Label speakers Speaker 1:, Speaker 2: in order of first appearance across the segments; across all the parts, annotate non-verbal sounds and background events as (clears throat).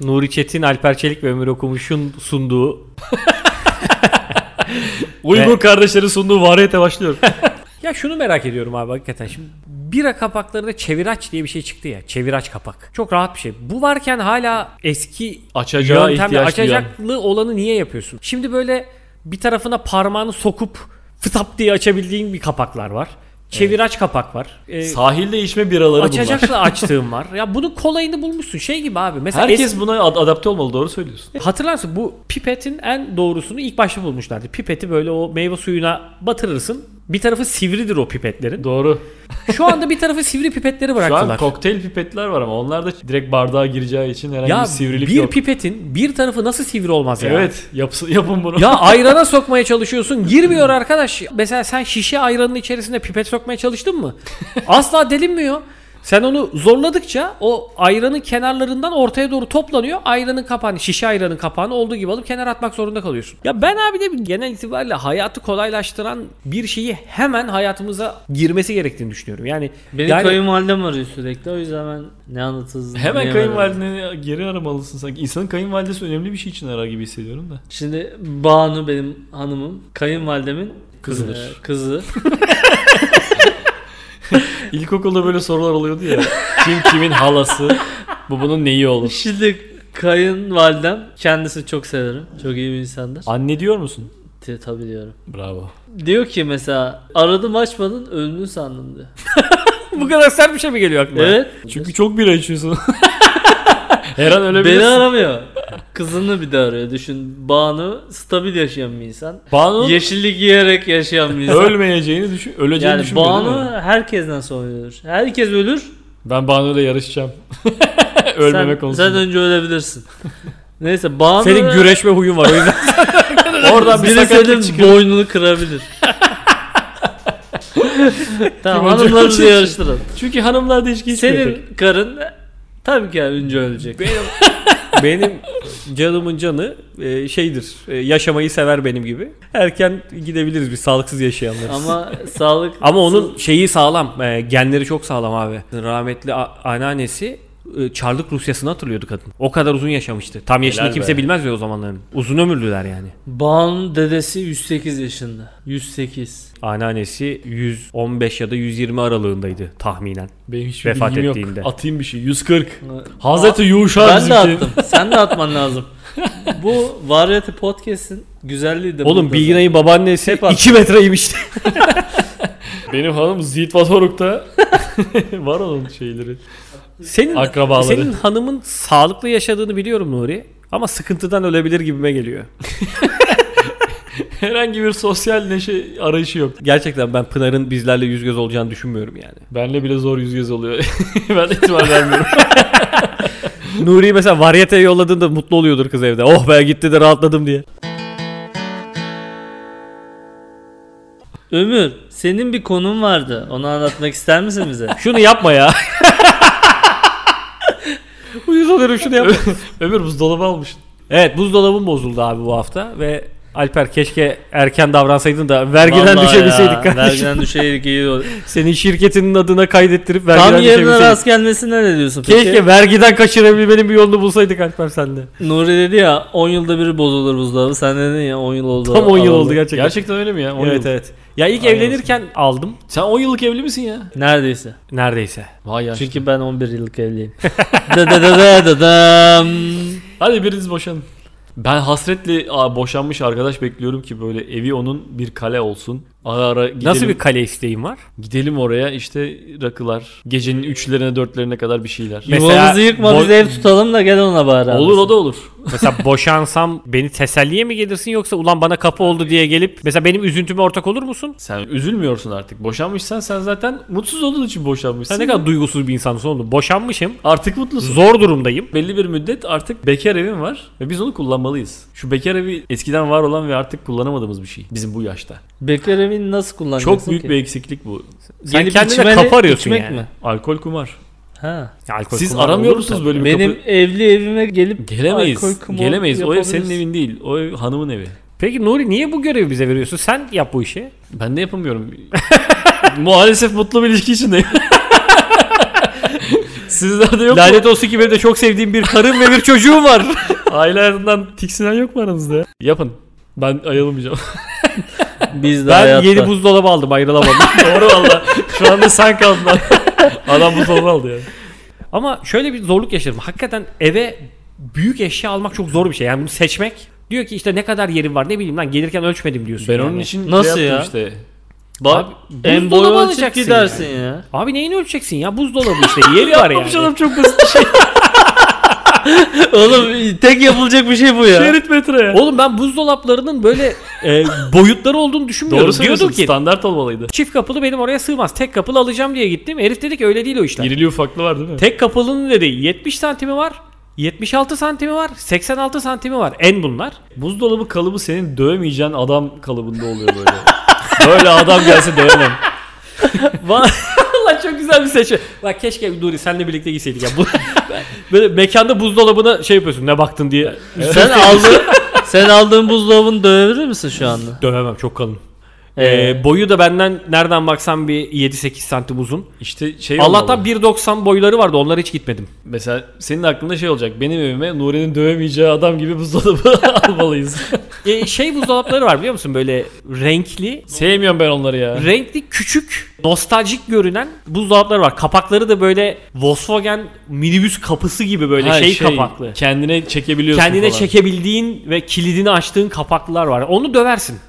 Speaker 1: Nuri Çetin, Alper Çelik ve Ömür Okumuş'un sunduğu
Speaker 2: (laughs)
Speaker 1: Uygur kardeşlerin sunduğu variyete başlıyor. (laughs) ya şunu merak ediyorum abi hakikaten şimdi bira kapaklarında çeviraç diye bir şey çıktı ya. Çeviraç kapak. Çok rahat bir şey. Bu varken hala eski
Speaker 2: Açacağı
Speaker 1: yöntemle
Speaker 2: ihtiyaç duyan.
Speaker 1: açacaklı olanı niye yapıyorsun? Şimdi böyle bir tarafına parmağını sokup fıtap diye açabildiğin bir kapaklar var. Çeviraç kapak var. Ee,
Speaker 2: E, Sahilde içme biraları bunlar. (laughs)
Speaker 1: açacakla açtığım var. Ya bunun kolayını bulmuşsun. Şey gibi abi. Mesela
Speaker 2: Herkes buna ad- adapte olmalı doğru söylüyorsun.
Speaker 1: Hatırlarsın bu pipetin en doğrusunu ilk başta bulmuşlardı. Pipeti böyle o meyve suyuna batırırsın. Bir tarafı sivridir o pipetlerin.
Speaker 2: Doğru.
Speaker 1: Şu anda bir tarafı sivri pipetleri
Speaker 2: Şu an
Speaker 1: bıraktılar.
Speaker 2: kokteyl pipetler var ama onlar da direkt bardağa gireceği için herhangi
Speaker 1: ya
Speaker 2: bir Hani sivrilik
Speaker 1: bir
Speaker 2: yok.
Speaker 1: pipetin bir tarafı nasıl sivri olmaz ya?
Speaker 2: Evet yapsın, (laughs) yapın bunu.
Speaker 1: Ya ayrana sokmaya çalışıyorsun girmiyor arkadaş. Mesela sen şişe ayranın içerisine pipet sokmaya çalıştın
Speaker 2: (laughs)
Speaker 1: mı? Asla delinmiyor. Sen onu zorladıkça o ayranın kenarlarından ortaya doğru toplanıyor. Ayranın kapağını, şişe ayranın kapağını olduğu gibi alıp kenara atmak zorunda kalıyorsun. Ya ben abi de genel itibariyle hayatı kolaylaştıran bir şeyi hemen hayatımıza girmesi gerektiğini düşünüyorum. Yani
Speaker 3: Beni
Speaker 1: yani-
Speaker 3: kayınvalidem arıyor sürekli. O yüzden ben ne anlatılsın
Speaker 2: Hemen
Speaker 3: bilemedim.
Speaker 2: kayınvalideni geri aramalısın sanki. İnsanın kayınvalidesi önemli bir şey için arar gibi hissediyorum da.
Speaker 3: Şimdi Banu benim hanımım. Kayınvalidemin
Speaker 2: Kızıdır.
Speaker 3: e, kızı. (laughs)
Speaker 2: İlkokulda böyle sorular oluyordu ya. Kim kimin halası? Bu bunun neyi olur?
Speaker 3: Şimdi kayınvalidem kendisini çok severim. Çok iyi bir insandır.
Speaker 2: Anne diyor musun?
Speaker 3: T- Tabii diyorum.
Speaker 2: Bravo.
Speaker 3: Diyor ki mesela aradım açmadın öldün sandım diyor.
Speaker 1: (laughs) bu kadar sert bir şey mi geliyor aklına?
Speaker 3: Evet.
Speaker 2: Çünkü çok bira içiyorsun. (laughs) Her an ölebilirsin.
Speaker 3: Beni aramıyor. Kızını bir de arıyor. Düşün Banu stabil yaşayan bir insan.
Speaker 2: Banu
Speaker 3: Yeşillik yiyerek yaşayan bir insan.
Speaker 2: ölmeyeceğini düşün, öleceğini
Speaker 3: yani
Speaker 2: düşünmüyor değil mi?
Speaker 3: Banu herkesten sonra ölür. Herkes ölür.
Speaker 2: Ben Banu'yla yarışacağım. (laughs) Ölmeme
Speaker 3: sen,
Speaker 2: konusunda.
Speaker 3: Sen önce ölebilirsin.
Speaker 2: (laughs)
Speaker 3: Neyse Banu
Speaker 1: Senin
Speaker 3: (laughs)
Speaker 1: güreşme huyun var o yüzden.
Speaker 2: Oradan bir
Speaker 3: biri
Speaker 2: sakatlık
Speaker 3: senin
Speaker 2: çıkıyor.
Speaker 3: boynunu
Speaker 2: (laughs)
Speaker 3: kırabilir. tamam
Speaker 2: Kim önce
Speaker 3: hanımlarımızı
Speaker 2: ölecek?
Speaker 3: yarıştıralım.
Speaker 2: (laughs) Çünkü hanımlar da içki içmiyor. pek.
Speaker 3: Senin karın tabii ki önce ölecek.
Speaker 1: Benim canımın canı e, şeydir. e, yaşamayı sever benim gibi. Erken gidebiliriz biz sağlıksız yaşayanlar. Ama,
Speaker 2: (laughs)
Speaker 3: Ama sağlık
Speaker 1: onun şeyi sağlam. e, genleri çok sağlam abi. Rahmetli a- anneannesi e, Çarlık Rusyası'nı hatırlıyordu kadın. O kadar uzun yaşamıştı. Tam yaşını
Speaker 2: Helal
Speaker 1: kimse
Speaker 2: be.
Speaker 1: bilmez ya o zamanların. Uzun ömürlüler yani.
Speaker 3: Banu'nun dedesi 108 yaşında. 108.
Speaker 1: Anneannesi 115 ya da 120 aralığındaydı tahminen.
Speaker 2: Benim hiçbir
Speaker 1: Vefat
Speaker 2: bilgim yok.
Speaker 1: ettiğinde.
Speaker 2: Atayım bir şey. 140. Hazreti Yuşa
Speaker 3: Ben de
Speaker 2: bizimki.
Speaker 3: attım. Sen de atman lazım. Bu Varyeti Podcast'in güzelliği de
Speaker 1: Oğlum
Speaker 3: burada.
Speaker 1: Bilginay'ın babaannesi
Speaker 3: Hep attı.
Speaker 1: 2 metreymişti.
Speaker 2: Benim hanım Ziyit Vatoruk'ta (laughs) var onun şeyleri.
Speaker 1: (laughs) Senin
Speaker 2: Akrabaları.
Speaker 3: E
Speaker 1: senin hanımın sağlıklı yaşadığını biliyorum Nuri. Ama sıkıntıdan ölebilir gibime geliyor.
Speaker 2: Herhangi bir sosyal neşe arayışı yok.
Speaker 1: Gerçekten ben Pınar'ın bizlerle yüz göz olacağını düşünmüyorum yani. (laughs)
Speaker 2: Benle bile zor yüz göz oluyor. (laughs) ben ihtimal vermiyorum.
Speaker 1: Nuri'yi mesela varyete yolladığında mutlu oluyordur kız evde. Oh be gitti de rahatladım diye.
Speaker 3: Ömür senin bir konun vardı. Onu anlatmak ister misin bize?
Speaker 1: Şunu yapma ya. (laughs) Uyuz oluyorum şunu yapma.
Speaker 2: Ömür buzdolabı almış.
Speaker 1: evet buzdolabım bozuldu abi bu hafta ve Alper keşke erken davransaydın da vergiden
Speaker 3: Vallahi
Speaker 1: düşebilseydik
Speaker 3: ya,
Speaker 1: kardeşim.
Speaker 3: Vergiden düşeydik iyi olur.
Speaker 1: (laughs) Senin şirketinin adına kaydettirip vergiden
Speaker 3: Tam yerine
Speaker 1: düşebilseydik.
Speaker 3: rast gelmesine ne diyorsun peki?
Speaker 1: Keşke vergiden kaçırabilmenin bir yolunu bulsaydık Alper sende.
Speaker 3: Nuri dedi ya 10 yılda biri bozulur buzdolabı. Sen dedin ya 10 yıl oldu.
Speaker 1: Tam 10 yıl
Speaker 3: alalı.
Speaker 1: oldu gerçekten.
Speaker 2: Gerçekten öyle mi ya? 10
Speaker 1: evet
Speaker 2: yıllık.
Speaker 1: evet. Ya ilk
Speaker 2: Aynen.
Speaker 1: evlenirken aldım.
Speaker 2: Sen 10 yıllık evli misin ya?
Speaker 3: Neredeyse.
Speaker 1: Neredeyse.
Speaker 2: Vay ya.
Speaker 3: Çünkü ben 11 yıllık evliyim.
Speaker 1: (laughs)
Speaker 3: da da da da da dam.
Speaker 2: Hadi biriniz boşanın. Ben hasretle aa, boşanmış arkadaş bekliyorum ki böyle evi onun bir kale olsun. Ara ara gidelim.
Speaker 1: Nasıl bir kale isteğim var?
Speaker 2: Gidelim oraya işte rakılar. Gecenin 3'lerine 4'lerine kadar bir şeyler.
Speaker 1: Mesela
Speaker 3: Yuvamızı yıkma
Speaker 1: bo-
Speaker 3: biz ev tutalım da gel ona bari.
Speaker 2: Olur o da olur.
Speaker 1: Mesela boşansam beni teselliye mi gelirsin yoksa ulan bana kapı oldu diye gelip mesela benim üzüntüme ortak olur musun?
Speaker 2: Sen üzülmüyorsun artık. Boşanmışsan sen zaten mutsuz olduğun için boşanmışsın.
Speaker 1: Sen ne kadar duygusuz bir insansın oğlum. Boşanmışım.
Speaker 2: artık mutlusun.
Speaker 1: Zor durumdayım.
Speaker 2: Belli bir müddet artık bekar evim var ve biz onu kullanmalıyız. Şu bekar evi eskiden var olan ve artık kullanamadığımız bir şey bizim bu yaşta.
Speaker 3: Bekar evini nasıl kullanacaksın
Speaker 2: Çok büyük
Speaker 3: ki?
Speaker 2: bir eksiklik bu.
Speaker 1: Sen
Speaker 3: Gelip
Speaker 1: kendine
Speaker 3: içmeli,
Speaker 1: kafa arıyorsun
Speaker 3: içmek
Speaker 1: yani.
Speaker 3: mi?
Speaker 2: Alkol kumar.
Speaker 3: Ha.
Speaker 1: Ya alkol
Speaker 2: Siz
Speaker 1: kullanma
Speaker 2: aramıyor
Speaker 1: olur mu
Speaker 2: musunuz
Speaker 1: tabii?
Speaker 2: böyle bir
Speaker 3: Benim
Speaker 2: kapı?
Speaker 3: evli evime gelip alkol
Speaker 2: Gelemeyiz.
Speaker 3: kumu
Speaker 2: Gelemeyiz. O ev senin
Speaker 3: yapabilirsin.
Speaker 2: evin değil. O ev hanımın evi.
Speaker 1: Peki Nuri niye bu görevi bize veriyorsun? Sen yap bu işi.
Speaker 2: Ben de (laughs) yapamıyorum. Maalesef mutlu bir ilişki içindeyim. Sizlerde yok mu?
Speaker 1: Lanet olsun ki benim de çok sevdiğim bir karım ve bir çocuğum
Speaker 2: (laughs)
Speaker 1: var.
Speaker 2: Ailelerinden tiksinen yok mu aranızda? ya? Yapın. Ben ayrılmayacağım.
Speaker 3: Biz de
Speaker 1: Ben
Speaker 3: hayatta.
Speaker 1: yeni buzdolabı aldım (laughs) ayrılamadım.
Speaker 2: (laughs) Doğru valla. Şu anda sen kaldın. (laughs) lan. Adam bu sorunu aldı yani.
Speaker 1: Ama şöyle bir zorluk yaşadım. Hakikaten eve büyük eşya almak çok zor bir şey. Yani bunu seçmek. Diyor ki işte ne kadar yerim var ne bileyim lan gelirken ölçmedim diyorsun.
Speaker 2: Ben
Speaker 1: yani.
Speaker 2: onun için
Speaker 3: Nasıl
Speaker 2: şey
Speaker 3: ya?
Speaker 2: yaptım işte.
Speaker 3: Bak
Speaker 1: Abi,
Speaker 3: en boyu
Speaker 1: buzdolabı
Speaker 3: ölçüp
Speaker 1: alacaksın
Speaker 3: gidersin ya.
Speaker 1: Abi neyini ölçeceksin ya buzdolabı işte (laughs) yeri var yani.
Speaker 2: Yapmış adam çok basit bir şey.
Speaker 3: Oğlum tek yapılacak bir şey bu ya.
Speaker 2: Şerit metre ya.
Speaker 1: Oğlum ben buzdolaplarının böyle e, boyutları olduğunu düşünmüyorum.
Speaker 2: Doğru
Speaker 1: Diyordum
Speaker 2: söylüyorsun.
Speaker 1: ki
Speaker 2: Standart olmalıydı.
Speaker 1: çift kapılı benim oraya sığmaz. Tek kapılı alacağım diye gittim. Herif dedi ki öyle değil o işler.
Speaker 2: İrili ufaklı var değil mi?
Speaker 1: Tek kapılının dedi 70 santimi var. 76 santimi var. 86 santimi var. En bunlar.
Speaker 2: (laughs) Buzdolabı kalıbı senin dövemeyeceğin adam kalıbında oluyor böyle. (laughs) böyle adam gelse dövemem.
Speaker 1: Valla çok güzel bir seçim. Bak keşke Nuri senle birlikte gitseydik ya. Bu, (laughs) böyle mekanda buzdolabına şey yapıyorsun ne baktın diye.
Speaker 3: Sen aldın sen aldığın buzdolabını dövebilir misin şu anda?
Speaker 1: Dövemem çok kalın. Ee,
Speaker 3: Ee,
Speaker 1: boyu da benden nereden baksan bir 7-8 santim uzun.
Speaker 2: İşte şey
Speaker 1: Allah'tan
Speaker 2: olmalı.
Speaker 1: 1.90 boyları vardı onlara hiç gitmedim.
Speaker 2: Mesela senin aklında şey olacak. Benim evime Nuri'nin dövemeyeceği adam gibi buzdolabı (laughs) almalıyız.
Speaker 1: Ee, şey buzdolapları var biliyor musun böyle renkli
Speaker 2: Sevmiyorum ben onları ya.
Speaker 1: renkli küçük nostaljik görünen buzdolapları var. Kapakları da böyle Volkswagen minibüs kapısı gibi böyle
Speaker 2: Ha,
Speaker 1: şey, kapaklı.
Speaker 2: Kendine çekebiliyorsun
Speaker 1: Kendine
Speaker 2: falan.
Speaker 1: çekebildiğin ve kilidini açtığın kapaklar var. Onu döversin. (laughs)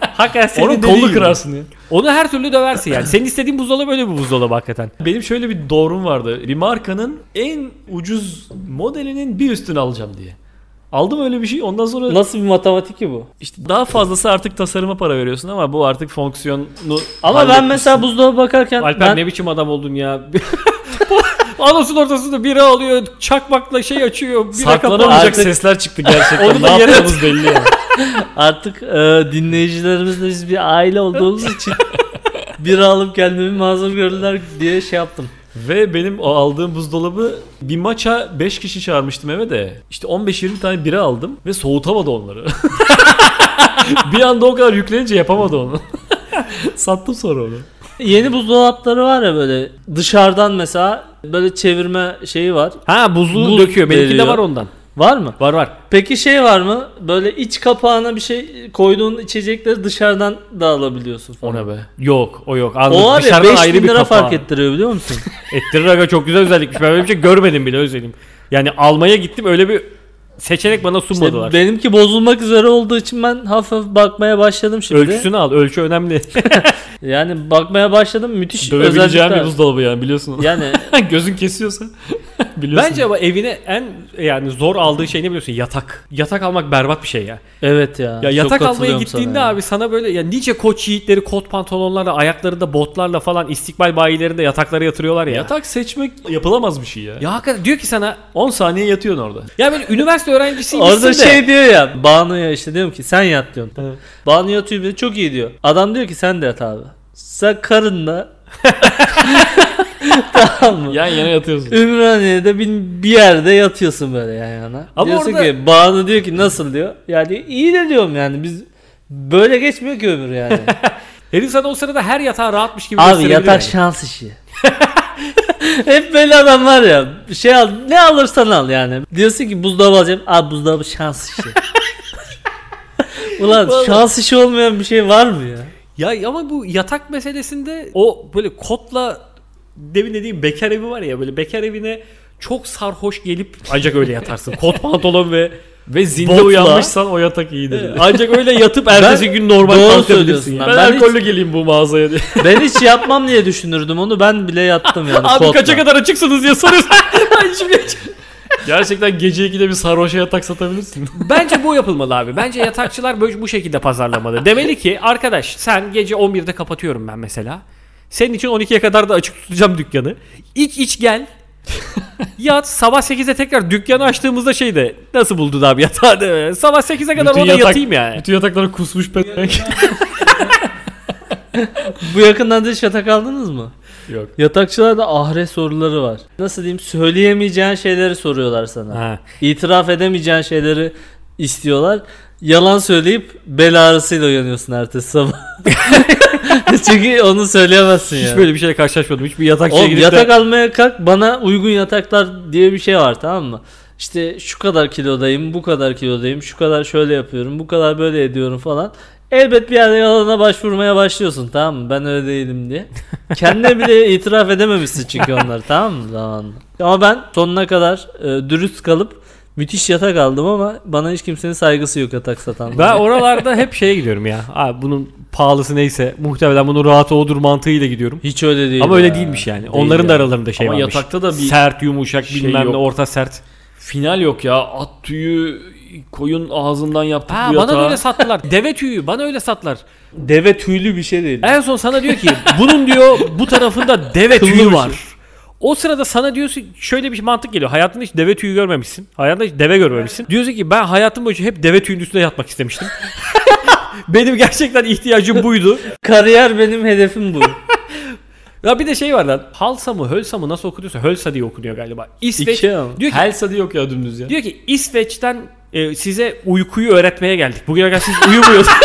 Speaker 1: hakikaten senin
Speaker 2: Onun
Speaker 1: dediğin
Speaker 2: kolunu
Speaker 1: gibi.
Speaker 2: kırarsın ya.
Speaker 1: Onu her türlü döversin yani. Senin istediğin buzdolabı öyle bir buzdolabı hakikaten.
Speaker 2: Benim şöyle bir doğrum vardı. Bir markanın en ucuz modelinin bir üstünü alacağım diye. Aldım öyle bir şey. Ondan sonra
Speaker 3: nasıl bir matematik ki bu?
Speaker 2: işte daha fazlası artık tasarıma para veriyorsun ama bu artık fonksiyonu
Speaker 3: Ama ben mesela buzdolabı bakarken
Speaker 1: Alper
Speaker 3: ben
Speaker 1: ne biçim adam oldun ya. (laughs) Anonsun ortasında bira alıyor, çakmakla şey açıyor, bira kapanıyor.
Speaker 2: saklanamayacak
Speaker 3: Artık-
Speaker 2: sesler çıktı
Speaker 3: (laughs)
Speaker 2: gerçekten.
Speaker 1: Onu da
Speaker 2: ne
Speaker 1: yere-
Speaker 2: yaptığımız belli yani.
Speaker 3: artık e, dinleyicilerimizle biz bir aile olduğumuz
Speaker 1: (laughs)
Speaker 3: için bir alıp kendimi mazur görürler diye şey yaptım.
Speaker 2: Ve benim o aldığım buzdolabı bir maça 5 kişi çağırmıştım eve de. İşte 15-20 tane bira aldım ve soğutamadı onları. (laughs) bir anda o kadar yüklenince yapamadı onu. (laughs) Sattım sonra onu.
Speaker 3: Yeni buzdolapları var ya böyle dışarıdan mesela böyle çevirme şeyi var.
Speaker 1: Ha buzluğu
Speaker 3: Buz
Speaker 1: döküyor. Benimki de
Speaker 3: veriyor.
Speaker 1: var ondan.
Speaker 3: Var mı?
Speaker 1: Var var.
Speaker 3: Peki şey var mı? Böyle iç kapağına bir şey koyduğun içecekleri dışarıdan da alabiliyorsun falan.
Speaker 2: Ona be.
Speaker 1: Yok o yok.
Speaker 3: O
Speaker 1: Anladım.
Speaker 3: var ya
Speaker 1: Dışarıdan
Speaker 3: 5
Speaker 1: ayrı
Speaker 3: bin
Speaker 1: bir
Speaker 3: lira
Speaker 1: kapağı.
Speaker 3: fark ettiriyor biliyor musun?
Speaker 1: (laughs) Ettirir aga çok güzel özellikmiş. Ben böyle bir şey görmedim bile özelim. Yani almaya gittim öyle bir seçenek bana sunmadılar.
Speaker 3: İşte benimki bozulmak üzere olduğu için ben hafif hafif bakmaya başladım şimdi.
Speaker 1: Ölçüsünü al. Ölçü önemli. (laughs)
Speaker 3: Yani bakmaya başladım müthiş
Speaker 2: Dövebileceğim bir
Speaker 3: özellikler.
Speaker 2: buzdolabı yani biliyorsun.
Speaker 1: (laughs)
Speaker 3: Yani
Speaker 2: Gözün kesiyorsa biliyorsun.
Speaker 1: Bence ama evine en yani zor aldığı şey ne biliyorsun? Yatak. Yatak almak berbat bir şey ya.
Speaker 3: evet ya.
Speaker 1: Ya
Speaker 3: çok
Speaker 1: yatak almaya
Speaker 3: katılıyorum sana
Speaker 1: gittiğinde
Speaker 3: ya.
Speaker 1: abi sana böyle ya nice koç yiğitleri kot pantolonlarla ayaklarında botlarla falan istikbal bayilerinde yataklara yatırıyorlar ya.
Speaker 2: yatak seçmek yapılamaz bir şey ya.
Speaker 1: Ya hakikaten diyor ki sana
Speaker 2: 10 saniye yatıyorsun orada.
Speaker 1: ya böyle üniversite öğrencisiymişsin
Speaker 3: Orada
Speaker 1: de.
Speaker 3: şey diyor ya Banu'ya işte diyorum ki sen yat diyorum. Banu yatıyor bir de çok iyi diyor. Adam diyor ki sen de yat abi. Sen
Speaker 1: (laughs)
Speaker 3: karınla (laughs) tamam mı?
Speaker 2: Yan yana yatıyorsun.
Speaker 3: Ümraniye'de bir, bir yerde yatıyorsun böyle yan yana.
Speaker 1: Ama
Speaker 3: Diyorsun
Speaker 1: orada-
Speaker 3: ki Banu diyor ki nasıl diyor. Yani iyi de diyorum yani biz böyle geçmiyor ki
Speaker 1: (laughs)
Speaker 3: ömür yani.
Speaker 1: Herif sana o sırada her yatağı rahatmış gibi
Speaker 3: Abi
Speaker 1: gösterebiliyor
Speaker 3: yatak
Speaker 1: yani.
Speaker 3: şans işi. (laughs) Hep böyle adam var ya şey al ne alırsan al yani. Diyorsun ki buzdolabı alacağım. Abi buzdolabı şans işi. (laughs) Ulan şans işi olmayan bir şey var mı ya?
Speaker 1: Ya ama bu yatak meselesinde o böyle kotla demin dediğim bekar evi var ya böyle bekar evine çok sarhoş gelip ancak öyle
Speaker 2: (laughs)
Speaker 1: yatarsın. Kot pantolon ve
Speaker 2: Ve zinde
Speaker 1: Botla.
Speaker 2: uyanmışsan o yatak iyidir.
Speaker 1: ancak öyle yatıp ertesi
Speaker 3: Ben-
Speaker 1: gün normal
Speaker 3: Doğru
Speaker 1: kalkabilirsin.
Speaker 3: söylüyorsun
Speaker 1: Yani.
Speaker 3: lan.
Speaker 2: ben,
Speaker 3: ben hiç-
Speaker 2: alkollü geleyim bu mağazaya diye.
Speaker 3: Ben hiç yapmam diye düşünürdüm onu. Ben bile yattım yani.
Speaker 1: (laughs) Abi
Speaker 3: kotla.
Speaker 1: kaça kadar açıksınız diye
Speaker 2: (laughs)
Speaker 1: soruyorsun. Ben şimdi-
Speaker 2: Gerçekten gece 2'de bir sarhoşa yatak satabilirsin.
Speaker 1: Bence bu yapılmalı abi. Bence yatakçılar böyle bu şekilde pazarlamalı. Demeli ki arkadaş sen gece 11'de kapatıyorum ben mesela. Senin için 12'ye kadar da açık tutacağım dükkanı. İç iç gel. Yat sabah 8'de tekrar dükkanı açtığımızda şeyde nasıl buldun abi yatağı de. Sabah 8'e kadar
Speaker 2: Bütün
Speaker 1: orada
Speaker 2: yatak-
Speaker 1: yatayım yani.
Speaker 2: Bütün
Speaker 1: (laughs)
Speaker 2: yataklara kusmuş petek.
Speaker 3: Bu yakından da hiç yatak aldınız mı?
Speaker 2: Yok.
Speaker 3: Yatakçılarda ahre soruları var. Nasıl diyeyim söyleyemeyeceğin şeyleri soruyorlar sana.
Speaker 1: Ha.
Speaker 3: İtiraf edemeyeceğin şeyleri istiyorlar. Yalan söyleyip bel ağrısıyla uyanıyorsun ertesi sabah. (laughs) Çünkü onu söyleyemezsin ya.
Speaker 4: Hiç böyle bir şeyle karşılaşmadım. Hiçbir yatakçıya
Speaker 3: Oğlum
Speaker 4: gidip
Speaker 3: yatak
Speaker 4: de...
Speaker 3: almaya kalk bana uygun yataklar diye bir şey var tamam mı? İşte şu kadar kilodayım, bu kadar kilodayım, şu kadar şöyle yapıyorum, bu kadar böyle ediyorum falan. Elbet bir yerde yalana başvurmaya başlıyorsun tamam mı? Ben öyle
Speaker 4: (laughs)
Speaker 3: değilim diye. Kendine bile itiraf edememişsin çünkü onları tamam mı zamanında? Ama ben sonuna kadar e, dürüst kalıp müthiş yatak aldım ama bana hiç kimsenin saygısı yok yatak satanlara.
Speaker 4: Ben oralarda hep şeye gidiyorum ya. Abi bunun pahalısı neyse muhtemelen bunun rahatı odur mantığıyla gidiyorum.
Speaker 3: Hiç öyle değil.
Speaker 4: Ama öyle
Speaker 3: ya.
Speaker 4: değilmiş yani.
Speaker 3: Değil
Speaker 4: Onların da
Speaker 3: ya.
Speaker 4: aralarında şey
Speaker 2: Ama
Speaker 4: varmış.
Speaker 2: yatakta da bir
Speaker 4: sert, yumuşak,
Speaker 2: şey
Speaker 4: bilmem
Speaker 2: yok.
Speaker 4: ne, orta sert.
Speaker 2: Final yok ya. At tüyü koyun ağzından yaptık
Speaker 1: Ha,
Speaker 2: bu
Speaker 1: bana
Speaker 2: yatağı.
Speaker 1: da öyle sattılar. (laughs) Deve tüyü bana öyle sattılar.
Speaker 3: Deve tüylü bir şey değil.
Speaker 1: En son sana
Speaker 4: (laughs)
Speaker 1: diyor ki bunun diyor bu tarafında deve
Speaker 3: Kıllı bir
Speaker 1: tüyü
Speaker 4: şey.
Speaker 1: var. O sırada sana diyorsun şöyle bir mantık geliyor. Hayatında hiç deve tüyü görmemişsin. Hayatında hiç deve görmemişsin. Diyorsun ki ben hayatım boyunca hep deve tüyünün üstünde yatmak istemiştim. (laughs) Benim gerçekten ihtiyacım buydu.
Speaker 3: Kariyer benim
Speaker 4: (laughs)
Speaker 3: hedefim bu.
Speaker 1: Ya bir de şey var lan. Halsa mı Hölsa mı nasıl okunuyorsa Hölsa diye okunuyor galiba. İsveç.
Speaker 3: İki ama.
Speaker 1: Diyor ki,
Speaker 2: Helsa diye yok ya dümdüz ya.
Speaker 1: diyor ki İsveç'ten e, size uykuyu öğretmeye geldik. Bugüne kadar siz uyumuyorsunuz. (laughs)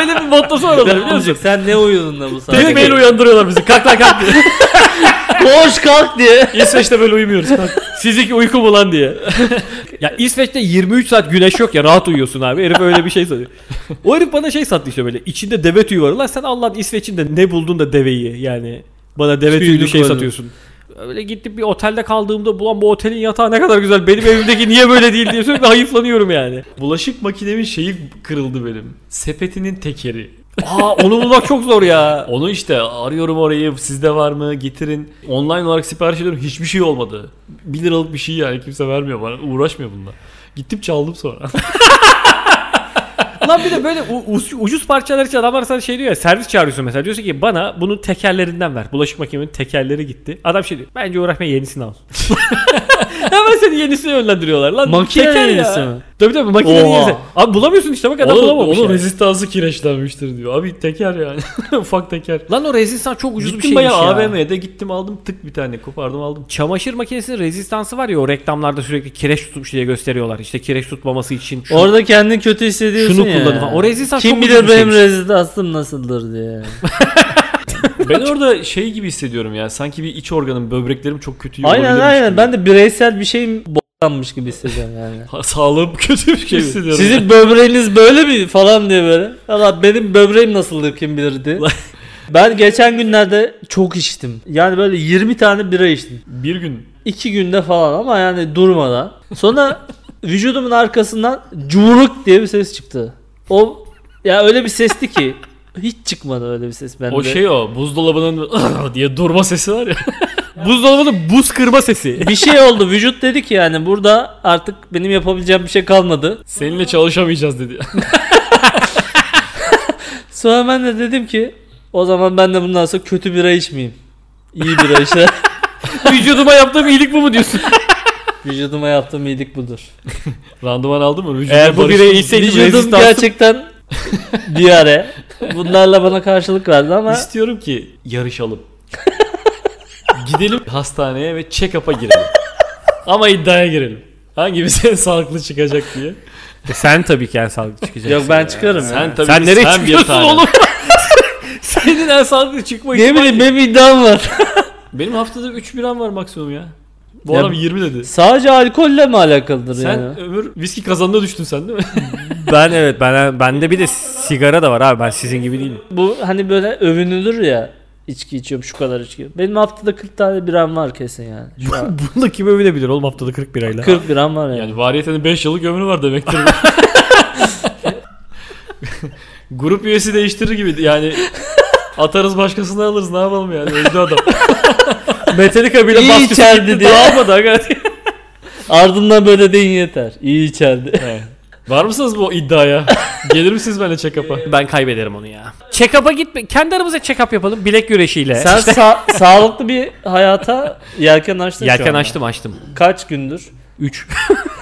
Speaker 1: Öyle bir mottosu var onların biliyor musun?
Speaker 3: Sen ne uyudun da bu saatte?
Speaker 1: Tekmeyle uyandırıyorlar bizi. Kalk lan kalk. (laughs) diye.
Speaker 3: Koş kalk diye.
Speaker 1: İsveç'te böyle (laughs) uyumuyoruz. Kalk. Sizinki uyku mu lan diye. (laughs) ya İsveç'te 23 saat güneş yok ya rahat uyuyorsun abi. Herif öyle bir şey satıyor. O herif bana şey sattı işte böyle. İçinde deve tüyü var. Lan sen Allah'ın İsveç'inde ne buldun da deveyi yani. Bana deve
Speaker 3: Tüylü
Speaker 1: tüylü şey
Speaker 3: koydun.
Speaker 1: satıyorsun. Öyle gittim bir otelde kaldığımda bulan bu otelin yatağı ne kadar güzel. Benim evimdeki niye böyle değil diye sürekli hayıflanıyorum yani.
Speaker 2: Bulaşık makinemin şeyi kırıldı benim. Sepetinin tekeri.
Speaker 1: Aa onu bulmak çok zor ya.
Speaker 2: Onu işte arıyorum orayı sizde var mı getirin. Online olarak sipariş ediyorum hiçbir şey olmadı. 1 liralık bir şey yani kimse vermiyor bana uğraşmıyor bununla. Gittim
Speaker 1: (laughs)
Speaker 2: çaldım sonra.
Speaker 1: Lan bir de böyle u- ucu- ucuz parçalar için adamlar sana şey diyor ya servis çağırıyorsun mesela. Diyorsun ki bana bunun tekerlerinden ver. Bulaşık makinemin tekerleri gitti. Adam şey diyor bence uğraşma yenisini al. Hemen seni yenisine yönlendiriyorlar lan.
Speaker 3: Makine
Speaker 1: teker ya.
Speaker 3: yenisi mi?
Speaker 1: Tabii tabii makinenin
Speaker 2: Oha.
Speaker 1: yenisi. Abi bulamıyorsun işte bak adam
Speaker 2: onun
Speaker 1: bulamamış.
Speaker 2: onun
Speaker 1: yani.
Speaker 2: rezistansı kireçlenmiştir diyor. Abi teker yani. (laughs) Ufak teker.
Speaker 1: Lan o rezistans çok ucuz bir
Speaker 2: gittim
Speaker 1: şeymiş ya.
Speaker 2: bayağı AVM'de gittim aldım tık bir tane kopardım aldım.
Speaker 1: Çamaşır makinesinin rezistansı var ya o reklamlarda sürekli kireç tutmuş diye gösteriyorlar. İşte kireç tutmaması için şu- (laughs)
Speaker 3: Orada kendini kötü hissediyorsun
Speaker 1: Şunu
Speaker 3: ya.
Speaker 1: kullanın falan. O rezistans
Speaker 3: Kim
Speaker 1: çok
Speaker 3: bilir
Speaker 1: ucuz bir
Speaker 3: benim
Speaker 1: şeymiş.
Speaker 3: rezistansım nasıldır diye.
Speaker 1: (laughs)
Speaker 2: Ben orada şey gibi hissediyorum ya sanki bir iç organım böbreklerim çok kötü
Speaker 3: aynen
Speaker 1: şey
Speaker 2: olabilirmiş
Speaker 3: aynen.
Speaker 2: gibi.
Speaker 3: Ben de bireysel bir şeyim boklanmış gibi hissediyorum
Speaker 1: (laughs)
Speaker 3: yani.
Speaker 2: Ha, Sağlığım (laughs) kötü bir şey hissediyorum.
Speaker 3: Sizin böbreğiniz böyle mi falan diye böyle. Allah benim böbreğim nasıldır kim bilir diye. Ben geçen günlerde çok içtim. Yani böyle 20 tane bira içtim.
Speaker 2: Bir gün
Speaker 3: İki günde falan ama yani durmadan. Sonra vücudumun arkasından cumruk diye bir ses çıktı. O ya öyle bir sesti ki hiç çıkmadı öyle bir ses bende.
Speaker 2: o şey o buzdolabının (laughs) diye durma sesi var ya.
Speaker 1: (laughs) Buzdolabının buz kırma sesi.
Speaker 3: bir şey oldu. Vücut dedi ki yani burada artık benim yapabileceğim bir şey kalmadı.
Speaker 2: Seninle
Speaker 1: (laughs)
Speaker 2: çalışamayacağız dedi.
Speaker 3: Sonra ben de dedim ki o zaman ben de bundan sonra kötü bira içmeyeyim. İyi bira
Speaker 2: (laughs)
Speaker 3: işte.
Speaker 1: Vücuduma yaptığım iyilik bu mu diyorsun?
Speaker 3: Vücuduma yaptığım iyilik budur.
Speaker 2: Randıman aldın mı? Vücuduna
Speaker 1: Eğer bu
Speaker 2: barıştın
Speaker 1: bire
Speaker 2: mı?
Speaker 1: iyiseydim
Speaker 3: Vücudum
Speaker 1: rezistansım-
Speaker 3: gerçekten bir ara. Bunlarla bana karşılık verdi ama
Speaker 2: İstiyorum ki
Speaker 1: (laughs)
Speaker 2: yarışalım. Gidelim hastaneye ve check-up'a girelim. Ama iddiaya girelim. Hangimiz en (laughs) sağlıklı çıkacak diye.
Speaker 1: E, Sen tabii ki en sağlıklı çıkacaksın.
Speaker 3: yok ben çıkarım. ya.
Speaker 2: Sen tabii
Speaker 1: Sen
Speaker 2: ki
Speaker 1: nereye
Speaker 2: bir
Speaker 1: çıkıyorsun
Speaker 2: tane. (laughs)
Speaker 1: oğlum? Senin en sağlıklı çıkma
Speaker 3: Ne bileyim benim iddiam var. (laughs)
Speaker 2: Benim haftada 3 biram var maksimum ya. Bu
Speaker 3: Ya-
Speaker 2: adam 20 dedi.
Speaker 3: Sadece alkolle mi alakalıdır
Speaker 2: Sen
Speaker 3: yani?
Speaker 2: ömür viski kazanına düştün sen değil mi?
Speaker 1: Ben evet ben bende bir de sigara da var abi ben sizin gibi değilim.
Speaker 3: Bu hani böyle övünülür ya içki içiyorum şu kadar içki. Benim haftada 40 tane biram var kesin yani.
Speaker 2: (laughs)
Speaker 3: Şu an
Speaker 1: Bunu da kim övünebilir oğlum haftada 40 birayla.
Speaker 3: 40 biram var yani.
Speaker 2: Yani variyetenin 5 yıllık ömrü var demektir. bu. (laughs) Grup üyesi değiştirir gibi yani atarız başkasını alırız ne yapalım yani öldü adam.
Speaker 1: Metallica bile
Speaker 3: İyi
Speaker 1: baskısı
Speaker 3: içerdi
Speaker 1: gitti,
Speaker 3: diye. (laughs)
Speaker 1: dağılmadı hakikaten.
Speaker 3: Ardından böyle deyin yeter. İyi (laughs) içerdi.
Speaker 2: Var mısınız bu iddiaya? Gelir misiniz benimle check-up'a?
Speaker 1: ben kaybederim onu ya. Check-up'a gitme. Kendi aramızda check-up yapalım bilek güreşiyle.
Speaker 3: Sen sa- sağlıklı bir hayata yelken açtın şu
Speaker 1: Yelken
Speaker 3: anda.
Speaker 1: açtım açtım.
Speaker 3: Kaç (laughs) gündür?
Speaker 1: 3.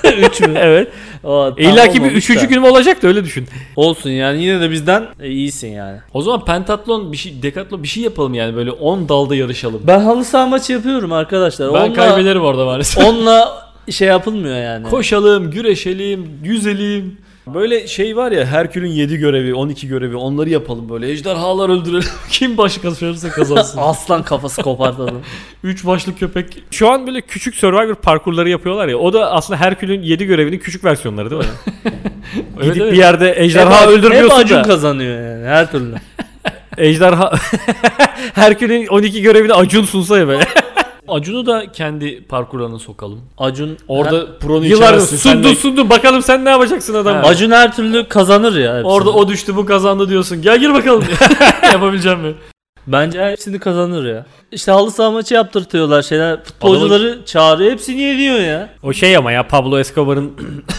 Speaker 3: 3
Speaker 1: (laughs)
Speaker 3: mü?
Speaker 1: evet.
Speaker 3: O, tam
Speaker 1: İlla ki bir
Speaker 3: olmamış da.
Speaker 1: üçüncü günüm olacak da öyle düşün.
Speaker 3: Olsun yani yine de bizden e, iyisin yani.
Speaker 2: O zaman pentatlon bir şey, dekatlon bir şey yapalım yani böyle 10 dalda yarışalım.
Speaker 3: Ben halı saha maçı yapıyorum arkadaşlar.
Speaker 2: Ben
Speaker 3: Onunla-
Speaker 2: kaybederim orada maalesef. (laughs)
Speaker 3: Onunla şey yapılmıyor yani.
Speaker 2: Koşalım, güreşelim, yüzelim. Böyle şey var ya Herkül'ün 7 görevi, 12 görevi onları yapalım böyle. Ejderhalar öldürelim. (laughs) Kim başı kazanırsa kazansın.
Speaker 1: (laughs)
Speaker 3: Aslan kafası kopartalım.
Speaker 2: 3 başlı köpek.
Speaker 1: Şu an böyle küçük Survivor parkurları yapıyorlar ya. O da aslında Herkül'ün 7 görevinin küçük versiyonları (laughs) değil mi?
Speaker 2: Evet,
Speaker 1: Gidip
Speaker 2: evet.
Speaker 1: bir yerde ejderha
Speaker 3: hep, Hep
Speaker 1: öldürmüyorsun
Speaker 3: Acun
Speaker 1: da.
Speaker 3: kazanıyor yani her türlü.
Speaker 1: Ejderha (laughs) Herkül'ün 12 görevini Acun sunsa (laughs) ya böyle.
Speaker 2: Acun'u da kendi parkurlarına sokalım.
Speaker 3: Acun
Speaker 2: Orada pronu
Speaker 1: Yıllar
Speaker 2: içersin. sen de-
Speaker 1: sundu sundu bakalım sen ne yapacaksın adam.
Speaker 3: Ha. Acun her türlü kazanır ya. hepsini.
Speaker 2: Orada o düştü bu kazandı diyorsun. Gel
Speaker 1: (laughs)
Speaker 2: gir bakalım. (laughs) Yapabileceğim mi?
Speaker 3: Bence hepsini kazanır ya. İşte halı saha maçı yaptırtıyorlar şeyler. Futbolcuları çağırıyor. Hepsini yeniyor ya.
Speaker 1: O şey ama ya Pablo Escobar'ın (clears throat)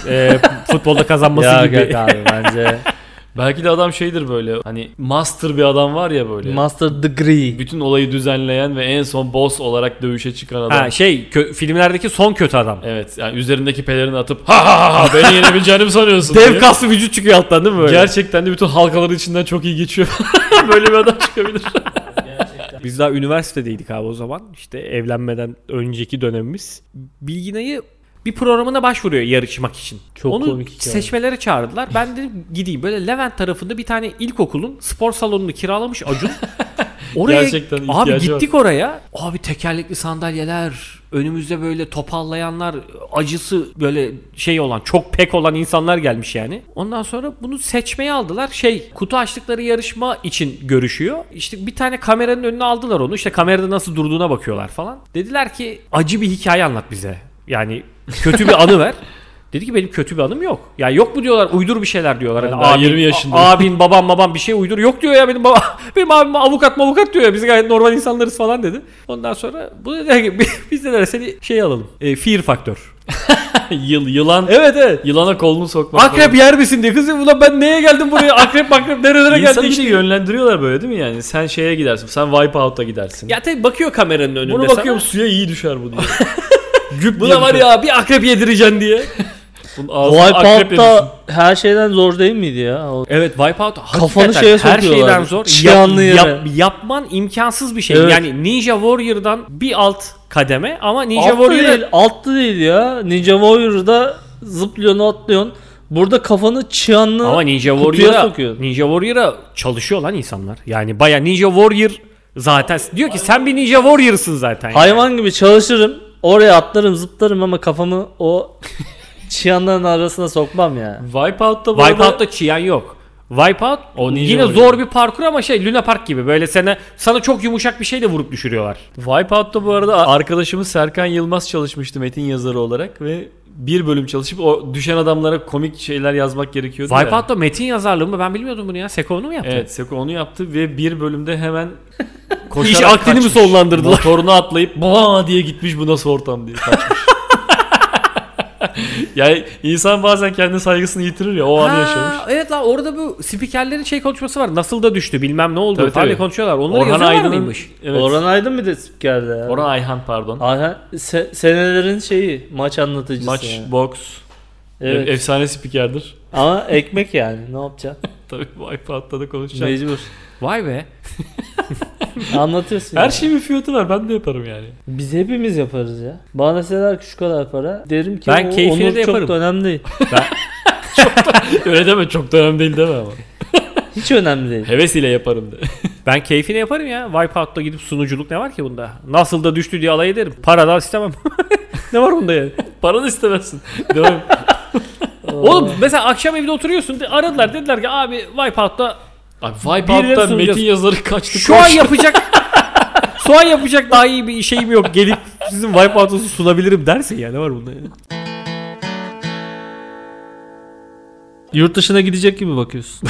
Speaker 1: e, futbolda (laughs) kazanması
Speaker 3: ya
Speaker 1: gibi.
Speaker 3: Gök abi
Speaker 1: (laughs)
Speaker 3: bence.
Speaker 2: Belki de adam şeydir böyle. Hani master bir adam var ya böyle.
Speaker 3: Master degree.
Speaker 2: bütün olayı düzenleyen ve en son boss olarak dövüşe çıkan adam.
Speaker 1: Ha şey kö- filmlerdeki son kötü adam.
Speaker 2: Evet yani üzerindeki pelerini atıp ha ha ha ha beni yenebileceğini mi sanıyorsun?
Speaker 1: Dev
Speaker 2: diye.
Speaker 1: kaslı vücut çıkıyor alttan değil mi böyle?
Speaker 2: Gerçekten de bütün halkaların içinden çok iyi geçiyor. (laughs) Böyle bir adam çıkabilir.
Speaker 1: Biz daha üniversitedeydik abi o zaman. İşte evlenmeden önceki dönemimiz. Bilginay'ı bir programına başvuruyor yarışmak için.
Speaker 3: Çok
Speaker 1: Onu
Speaker 3: komik hikaye.
Speaker 1: seçmelere çağırdılar. Ben dedim gideyim. Böyle Levent tarafında bir tane ilkokulun spor salonunu kiralamış Acun. Oraya
Speaker 2: Gerçekten
Speaker 1: abi
Speaker 2: ihtiyacı var.
Speaker 1: gittik oraya. Abi tekerlekli sandalyeler, önümüzde böyle topallayanlar, acısı böyle şey olan, çok pek olan insanlar gelmiş yani. Ondan sonra bunu seçmeye aldılar. Şey, kutu açtıkları yarışma için görüşüyor. İşte bir tane kameranın önüne aldılar onu. İşte kamerada nasıl durduğuna bakıyorlar falan. Dediler ki acı bir hikaye anlat bize. Yani kötü bir anı
Speaker 2: (laughs)
Speaker 1: ver. Dedi ki benim kötü bir anım yok. Ya yok mu diyorlar uydur bir şeyler diyorlar.
Speaker 2: Ben daha 20 yaşındayım.
Speaker 1: a- abin babam babam bir şey uydur. Yok diyor ya benim baba (laughs) benim abim avukat avukat diyor ya biz gayet normal insanlarız falan dedi. Ondan sonra bu dedi ki biz dediler seni şey alalım. E, fear faktör.
Speaker 2: (laughs) Yıl, yılan.
Speaker 1: Evet evet.
Speaker 2: Yılana kolunu sokmak.
Speaker 1: Akrep yer misin diye kızım ulan ben neye geldim buraya akrep akrep nerelere
Speaker 2: falan. İnsanı
Speaker 1: geldim.
Speaker 2: işte yönlendiriyorlar böyle değil mi yani? Sen şeye gidersin. Sen Wipeout'a gidersin.
Speaker 1: Ya tabii bakıyor kameranın önünde
Speaker 2: Bunu
Speaker 1: sana.
Speaker 2: bakıyorum suya iyi düşer
Speaker 1: (laughs)
Speaker 2: bu diyor.
Speaker 1: Güp buna var ya bir akrep yedireceksin diye.
Speaker 2: Bunun ağzına akrep yemişsin.
Speaker 3: Wipeout'ta her şeyden zor değil miydi ya? O-
Speaker 1: Evet Wipeout
Speaker 3: Kafanı
Speaker 1: hakikaten
Speaker 3: şeye
Speaker 1: her
Speaker 3: sokuyorlar.
Speaker 1: şeyden zor.
Speaker 3: Çıyanlı yere.
Speaker 1: yapman imkansız bir şey.
Speaker 3: Evet.
Speaker 1: Yani Ninja Warrior'dan bir alt kademe ama Ninja
Speaker 3: Altta değil,
Speaker 1: Warrior'a
Speaker 3: altta değil ya. Ninja Warrior'da zıplıyorsun atlıyorsun. Burada kafanı çıyanlı
Speaker 1: ama Ninja
Speaker 3: kutuya
Speaker 1: Warrior'a
Speaker 3: sokuyor.
Speaker 1: Ninja Warrior'a çalışıyor lan insanlar. Yani baya Ninja Warrior zaten diyor ki sen bir Ninja Warrior'sın zaten. yani.
Speaker 3: Hayvan gibi çalışırım. Oraya atlarım zıplarım ama kafamı o (laughs) çıyanların arasına sokmam ya.
Speaker 2: Wipeout'ta bu arada-
Speaker 1: Wipeout'ta çiyan yok. Wipeout
Speaker 2: O Ninja
Speaker 1: yine
Speaker 2: Warrior.
Speaker 1: zor bir parkur ama şey Luna Park gibi böyle sana sana çok yumuşak bir şeyle vurup düşürüyorlar.
Speaker 2: Wipeout'ta bu arada arkadaşımız Serkan Yılmaz çalışmıştı metin yazarı olarak ve bir bölüm çalışıp o düşen adamlara komik şeyler yazmak gerekiyordu. ya.
Speaker 1: Wipeout'ta metin yazarlığı mı ben bilmiyordum bunu ya. Seko'nu mu yaptı?
Speaker 2: Evet Seko onu yaptı ve bir
Speaker 1: (laughs)
Speaker 2: bölümde hemen
Speaker 1: İş
Speaker 2: koşarak
Speaker 1: aklını mi
Speaker 2: kaçmış.
Speaker 1: sollandırdılar?
Speaker 2: Motorunu atlayıp baa diye gitmiş bu nasıl ortam diye
Speaker 1: (laughs)
Speaker 2: kaçmış. yani insan bazen kendi saygısını yitirir ya o anı
Speaker 1: Ha,
Speaker 2: yaşamış.
Speaker 1: Evet lan orada bu spikerlerin şey konuşması var. Nasıl da düştü bilmem ne oldu
Speaker 2: Tabii,
Speaker 1: falan diye
Speaker 2: tabii.
Speaker 1: konuşuyorlar. Onları
Speaker 2: Orhan
Speaker 1: yazıyorlar
Speaker 2: Aydın'ın
Speaker 1: mıymış?
Speaker 2: evet. Orhan...
Speaker 3: Orhan Aydın bir de spikerdi ya.
Speaker 2: Ayhan pardon.
Speaker 3: Ayhan se- senelerin şeyi maç anlatıcısı.
Speaker 2: Maç,
Speaker 3: yani.
Speaker 2: boks,
Speaker 3: Evet.
Speaker 2: efsane spikerdir. (laughs)
Speaker 3: ama ekmek yani
Speaker 1: (laughs)
Speaker 3: ne yapacaksın?
Speaker 2: Tabii Wipeout'ta da konuşacağız.
Speaker 3: Mecbur.
Speaker 1: Vay be.
Speaker 3: Anlatıyorsun.
Speaker 2: Her
Speaker 3: yani.
Speaker 2: şeyin bir fiyatı var ben de yaparım yani. (laughs)
Speaker 1: şey-
Speaker 3: Biz hepimiz yaparız ya. Bana deseler ki şu kadar para. Derim ki
Speaker 1: Ben
Speaker 3: o
Speaker 1: keyfini
Speaker 3: onur
Speaker 1: de
Speaker 3: çok
Speaker 1: yaparım.
Speaker 3: da
Speaker 1: (laughs)
Speaker 3: önemli değil.
Speaker 2: Öyle deme çok da önemli değil deme ama.
Speaker 3: Hiç önemli değil.
Speaker 2: Heves ile yaparım de. (laughs)
Speaker 1: Ben keyfini yaparım ya. Wipeout'ta gidip sunuculuk ne var ki bunda? Nasıl da düştü diye alay ederim. Paradan istemem. (laughs) ne var bunda yani?
Speaker 2: Para da istemezsin. Devam.
Speaker 1: (laughs) Oğlum mesela akşam evde oturuyorsun. de- Aradılar dediler ki abi Wipeout'ta
Speaker 2: Abi
Speaker 1: Birileri
Speaker 2: Wipeout'ta
Speaker 1: sunacağız.
Speaker 2: metin yazarı kaçtı.
Speaker 1: şu an yapacak (laughs) şu an yapacak daha iyi bir şeyim yok. Gelip sizin Wipeout'unuzu sunabilirim dersin ya. Ne var bunda yani?
Speaker 3: Yurt dışına gidecek gibi bakıyorsun.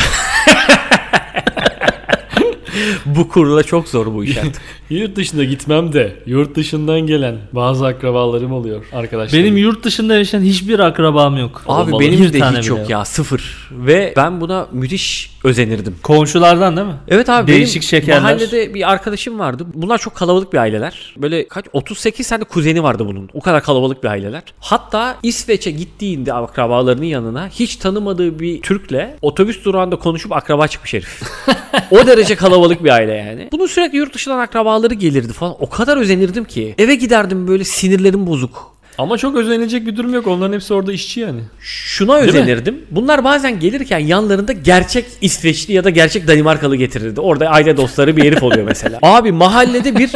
Speaker 1: Bu kurla çok zor bu iş (laughs)
Speaker 2: (laughs) Yurt dışına gitmem de yurt dışından gelen bazı akrabalarım oluyor arkadaşlar.
Speaker 3: Benim yurt dışında yaşayan hiçbir akrabam yok.
Speaker 1: Abi
Speaker 3: Olmalı.
Speaker 1: benim
Speaker 3: Bir
Speaker 1: de
Speaker 3: tane
Speaker 1: hiç
Speaker 3: bile
Speaker 1: yok ya sıfır ve ben buna müthiş özenirdim.
Speaker 3: Komşulardan değil mi?
Speaker 1: Evet abi
Speaker 3: Değişik
Speaker 1: benim
Speaker 3: şekerler.
Speaker 1: mahallede bir arkadaşım vardı. Bunlar çok kalabalık bir aileler. Böyle kaç 38 tane kuzeni vardı bunun. O kadar kalabalık bir aileler. Hatta İsveç'e gittiğinde akrabalarının yanına hiç tanımadığı bir Türk'le otobüs durağında konuşup akraba çıkmış herif.
Speaker 3: (laughs)
Speaker 1: o derece kalabalık bir aile yani. Bunun sürekli yurt dışından akrabaları gelirdi falan. O kadar özenirdim ki. Eve giderdim böyle sinirlerim bozuk.
Speaker 2: Ama çok özenilecek bir durum yok. Onların hepsi orada işçi yani.
Speaker 1: Şuna
Speaker 2: Değil mi?
Speaker 1: özenirdim. Bunlar bazen gelirken yanlarında gerçek İsveçli ya da gerçek Danimarkalı getirirdi. Orada aile dostları bir herif oluyor
Speaker 2: (laughs)
Speaker 1: mesela. Abi mahallede bir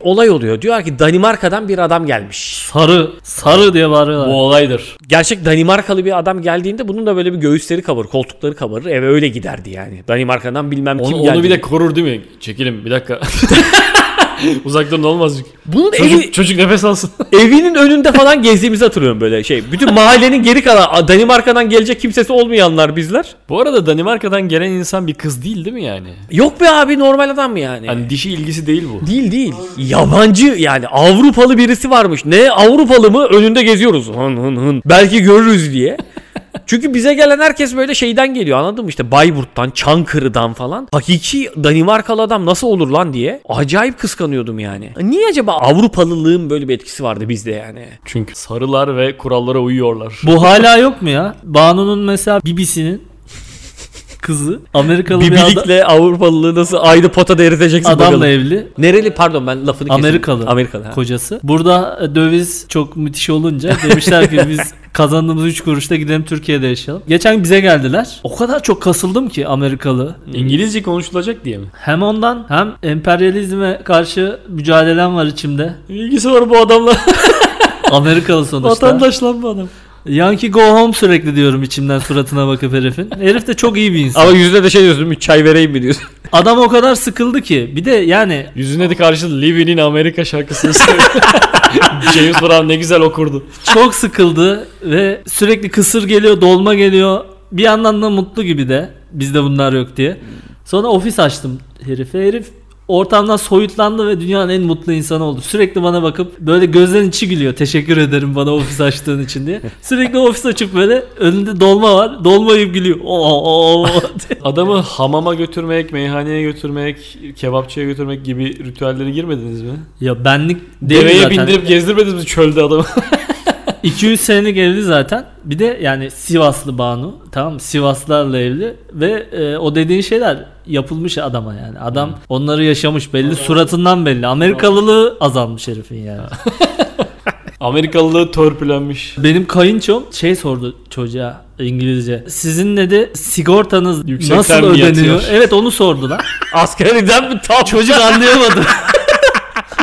Speaker 1: olay oluyor. Diyor ki Danimarka'dan bir adam gelmiş.
Speaker 3: Sarı. Sarı diye bağırıyorlar.
Speaker 2: Bu olaydır.
Speaker 1: Gerçek Danimarkalı bir adam geldiğinde bunun da böyle bir göğüsleri kabarır, koltukları kabarır. Eve öyle giderdi yani. Danimarka'dan bilmem kim
Speaker 2: Onu,
Speaker 1: geldi.
Speaker 2: onu bir de korur değil mi? Çekelim bir (laughs) dakika. Uzak durun olmaz.
Speaker 1: Bunun
Speaker 2: Çocuk,
Speaker 1: evi-
Speaker 2: çocuk nefes alsın.
Speaker 1: (laughs) evinin önünde falan gezdiğimizi hatırlıyorum böyle şey. Bütün mahallenin geri kalan Danimarka'dan gelecek kimsesi olmayanlar bizler.
Speaker 2: (laughs) Bu arada Danimarka'dan gelen insan bir kız değil değil mi yani?
Speaker 1: Yok be abi normal adam yani.
Speaker 2: Hani dişi ilgisi değil bu.
Speaker 1: Değil değil. Yabancı yani Avrupalı birisi varmış. Ne Avrupalı mı? Önünde geziyoruz. Hın hın hın. Belki görürüz
Speaker 3: (laughs)
Speaker 1: diye. Çünkü bize gelen herkes böyle şeyden geliyor anladın mı? İşte Bayburt'tan, Çankırı'dan falan. Hakiki Danimarkalı adam nasıl olur lan diye. Acayip kıskanıyordum yani. Niye acaba Avrupalılığın böyle bir etkisi vardı bizde yani?
Speaker 2: Çünkü sarılar ve kurallara uyuyorlar.
Speaker 3: Bu hala yok mu ya? Banu'nun mesela Bibisi'nin kızı Amerikalı bir, ada-
Speaker 1: Bibilikle Avrupalılığı nasıl ayrı potada eriteceksin bakalım.
Speaker 3: adamla evli.
Speaker 1: Nereli pardon ben lafını kestim.
Speaker 3: Amerikalı.
Speaker 1: Amerikalı. ha.
Speaker 3: Kocası. Burada e, döviz çok
Speaker 1: (laughs)
Speaker 3: müthiş olunca demişler ki biz kazandığımız 3 kuruşta gidelim Türkiye'de yaşayalım. Geçen bize geldiler. O kadar çok kasıldım ki Amerikalı.
Speaker 2: İngilizce konuşulacak diye mi?
Speaker 3: Hem ondan hem emperyalizme karşı mücadelem var içimde.
Speaker 2: İlgisi var bu adamla.
Speaker 3: Amerikalı sonuçta.
Speaker 2: Vatandaş lan bu adam.
Speaker 3: Yankee go home sürekli diyorum içimden suratına bakıp herifin. Herif de çok iyi bir insan.
Speaker 1: Ama yüzüne de şey diyorsun bir çay vereyim mi diyorsun.
Speaker 3: Adam o kadar sıkıldı ki. Bir de yani
Speaker 2: Yüzüne de karşı Living in America şarkısını söylüyor. (laughs) James Brown ne güzel okurdu.
Speaker 3: çok sıkıldı ve sürekli kısır geliyor, dolma geliyor. Bir yandan da mutlu gibi de. Bizde bunlar yok diye. Sonra ofis açtım herife. Herif ortamdan soyutlandı ve dünyanın en mutlu insanı oldu. Sürekli bana bakıp böyle gözlerin içi gülüyor. Teşekkür ederim bana ofis açtığın için diye. Sürekli ofis açıp böyle önünde dolma var. Dolma yiyip gülüyor. Oo, oo, oo diye.
Speaker 2: Adamı hamama götürmek, meyhaneye götürmek, kebapçıya götürmek gibi ritüellere girmediniz mi?
Speaker 3: ya benlik değil
Speaker 2: Deveye
Speaker 3: zaten. (laughs)
Speaker 2: bindirip gezdirmediniz mi çölde adamı? (laughs)
Speaker 3: 200 senelik evli zaten. Bir de yani Sivaslı Banu. Tamam mı? Sivaslarla evli. Ve e, o dediğin şeyler yapılmış adama yani. Adam
Speaker 2: Hmm.
Speaker 3: onları yaşamış belli. Suratından belli. Amerikalılığı azalmış herifin yani.
Speaker 2: Amerikalı törpülenmiş.
Speaker 3: (laughs) Benim kayınçom şey sordu çocuğa İngilizce. Sizin dedi sigortanız
Speaker 2: Yüksekten
Speaker 3: nasıl
Speaker 2: mi
Speaker 3: ödeniyor?
Speaker 2: yatıyor?
Speaker 3: Evet onu
Speaker 2: (laughs)
Speaker 3: sordu lan.
Speaker 1: Askeriden mi tam?
Speaker 3: Çocuk anlayamadı. (laughs)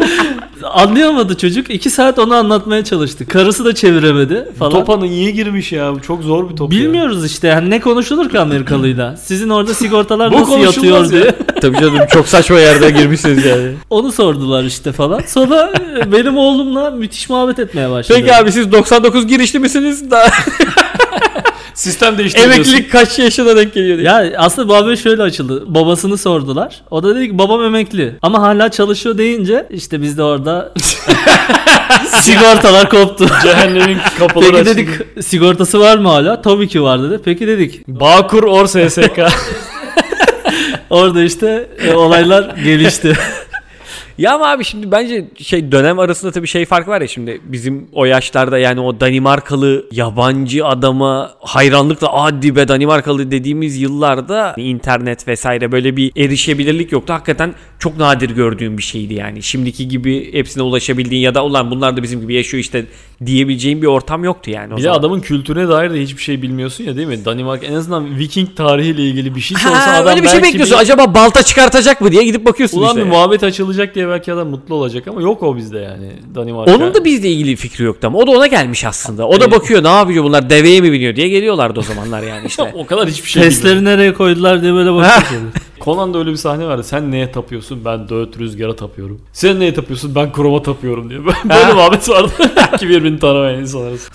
Speaker 3: anlayamadı çocuk. 2 saat onu anlatmaya çalıştı. Karısı da çeviremedi falan.
Speaker 2: Topanın iyi girmiş ya. Bu çok zor bir top. ya.
Speaker 3: Bilmiyoruz işte yani ne konuşulur ki Amerikalıyla. Sizin orada sigortalar
Speaker 2: (laughs) Bu
Speaker 3: nasıl yatıyor
Speaker 2: konuşulmaz ya.
Speaker 3: diye.
Speaker 1: (laughs) Tabii canım çok saçma yerden girmişsiniz yani.
Speaker 3: Onu sordular işte falan. Sonra (laughs) e, benim oğlumla müthiş muhabbet etmeye başladı.
Speaker 1: Peki abi siz 99 girişli misiniz? (laughs) Da
Speaker 2: Sistem değişti.
Speaker 1: emeklilik kaç yaşına denk geliyor diye.
Speaker 3: Ya aslında bu haber şöyle açıldı. Babasını sordular. O da dedi ki babam emekli. Ama hala çalışıyor deyince işte biz
Speaker 2: (laughs)
Speaker 3: de orada sigortalar koptu.
Speaker 1: (laughs)
Speaker 2: Cehennemin kapıları
Speaker 3: Peki
Speaker 2: açıldı.
Speaker 3: dedik sigortası var mı hala? Tabii ki var dedi. Peki dedik.
Speaker 2: Bağkur Or SSK.
Speaker 1: (laughs)
Speaker 3: Orada işte e, olaylar
Speaker 2: (laughs)
Speaker 3: gelişti.
Speaker 1: Ya ama abi şimdi bence şey dönem arasında tabii şey fark var ya şimdi bizim o yaşlarda yani o Danimarkalı yabancı adama hayranlıkla adi be Danimarkalı dediğimiz yıllarda internet vesaire böyle bir erişebilirlik yoktu. Hakikaten çok nadir gördüğüm bir şeydi yani. Şimdiki gibi hepsine ulaşabildiğin ya da ulan bunlar da bizim gibi yaşıyor işte diyebileceğin bir ortam yoktu yani o
Speaker 2: bir de
Speaker 1: zaman.
Speaker 2: adamın kültürüne dair de hiçbir şey bilmiyorsun ya değil mi? Danimarka en azından Viking tarihiyle ilgili bir şey sorsan
Speaker 1: Ha,
Speaker 2: adam
Speaker 1: öyle bir şey
Speaker 2: belki
Speaker 1: bekliyorsun.
Speaker 2: bir-
Speaker 1: Acaba balta çıkartacak mı diye gidip bakıyorsun
Speaker 2: Ulan
Speaker 1: işte.
Speaker 2: bir muhabbet açılacak diye belki adam mutlu olacak ama yok o bizde yani Danimarka.
Speaker 1: Onun da bizle ilgili fikri yoktu ama o da ona gelmiş aslında. O da bakıyor ne yapıyor bunlar deveye mi biniyor diye geliyorlardı o zamanlar yani
Speaker 2: (laughs)
Speaker 1: işte.
Speaker 2: o kadar hiçbir şey bilmiyorum.
Speaker 3: Testleri nereye koydular diye böyle
Speaker 2: (laughs)
Speaker 3: bakıyoruz.
Speaker 2: Conan'da öyle bir sahne vardı. Sen neye tapıyorsun? Ben döğüt rüzgara tapıyorum. Sen neye tapıyorsun? Ben kuroma tapıyorum diye. (laughs) Böyle muhabbet vardı. (laughs) Ki birbirini tanımayan insanlar. arasında.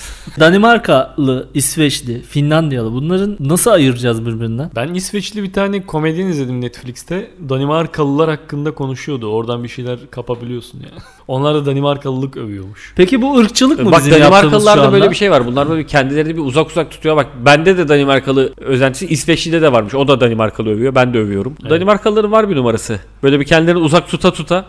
Speaker 3: Danimarkalı, İsveçli, Finlandiyalı bunların nasıl ayıracağız birbirinden?
Speaker 2: Ben İsveçli bir tane komedyen izledim Netflix'te. Danimarkalılar hakkında konuşuyordu. Oradan bir şeyler kapabiliyorsun ya. (laughs) Onlar da Danimarkalılık övüyormuş.
Speaker 3: Peki bu ırkçılık mı
Speaker 1: Bak
Speaker 3: bizim yaptığımız şu
Speaker 1: Danimarkalılarda
Speaker 3: anda?
Speaker 1: böyle bir şey var. Bunlar böyle kendilerini bir uzak uzak tutuyor. Bak bende de Danimarkalı özentisi İsveçli'de de varmış. O da Danimarkalı övüyor. Ben de övüyorum. Danimarkalıların var bir numarası. Böyle bir kendilerini uzak tuta tuta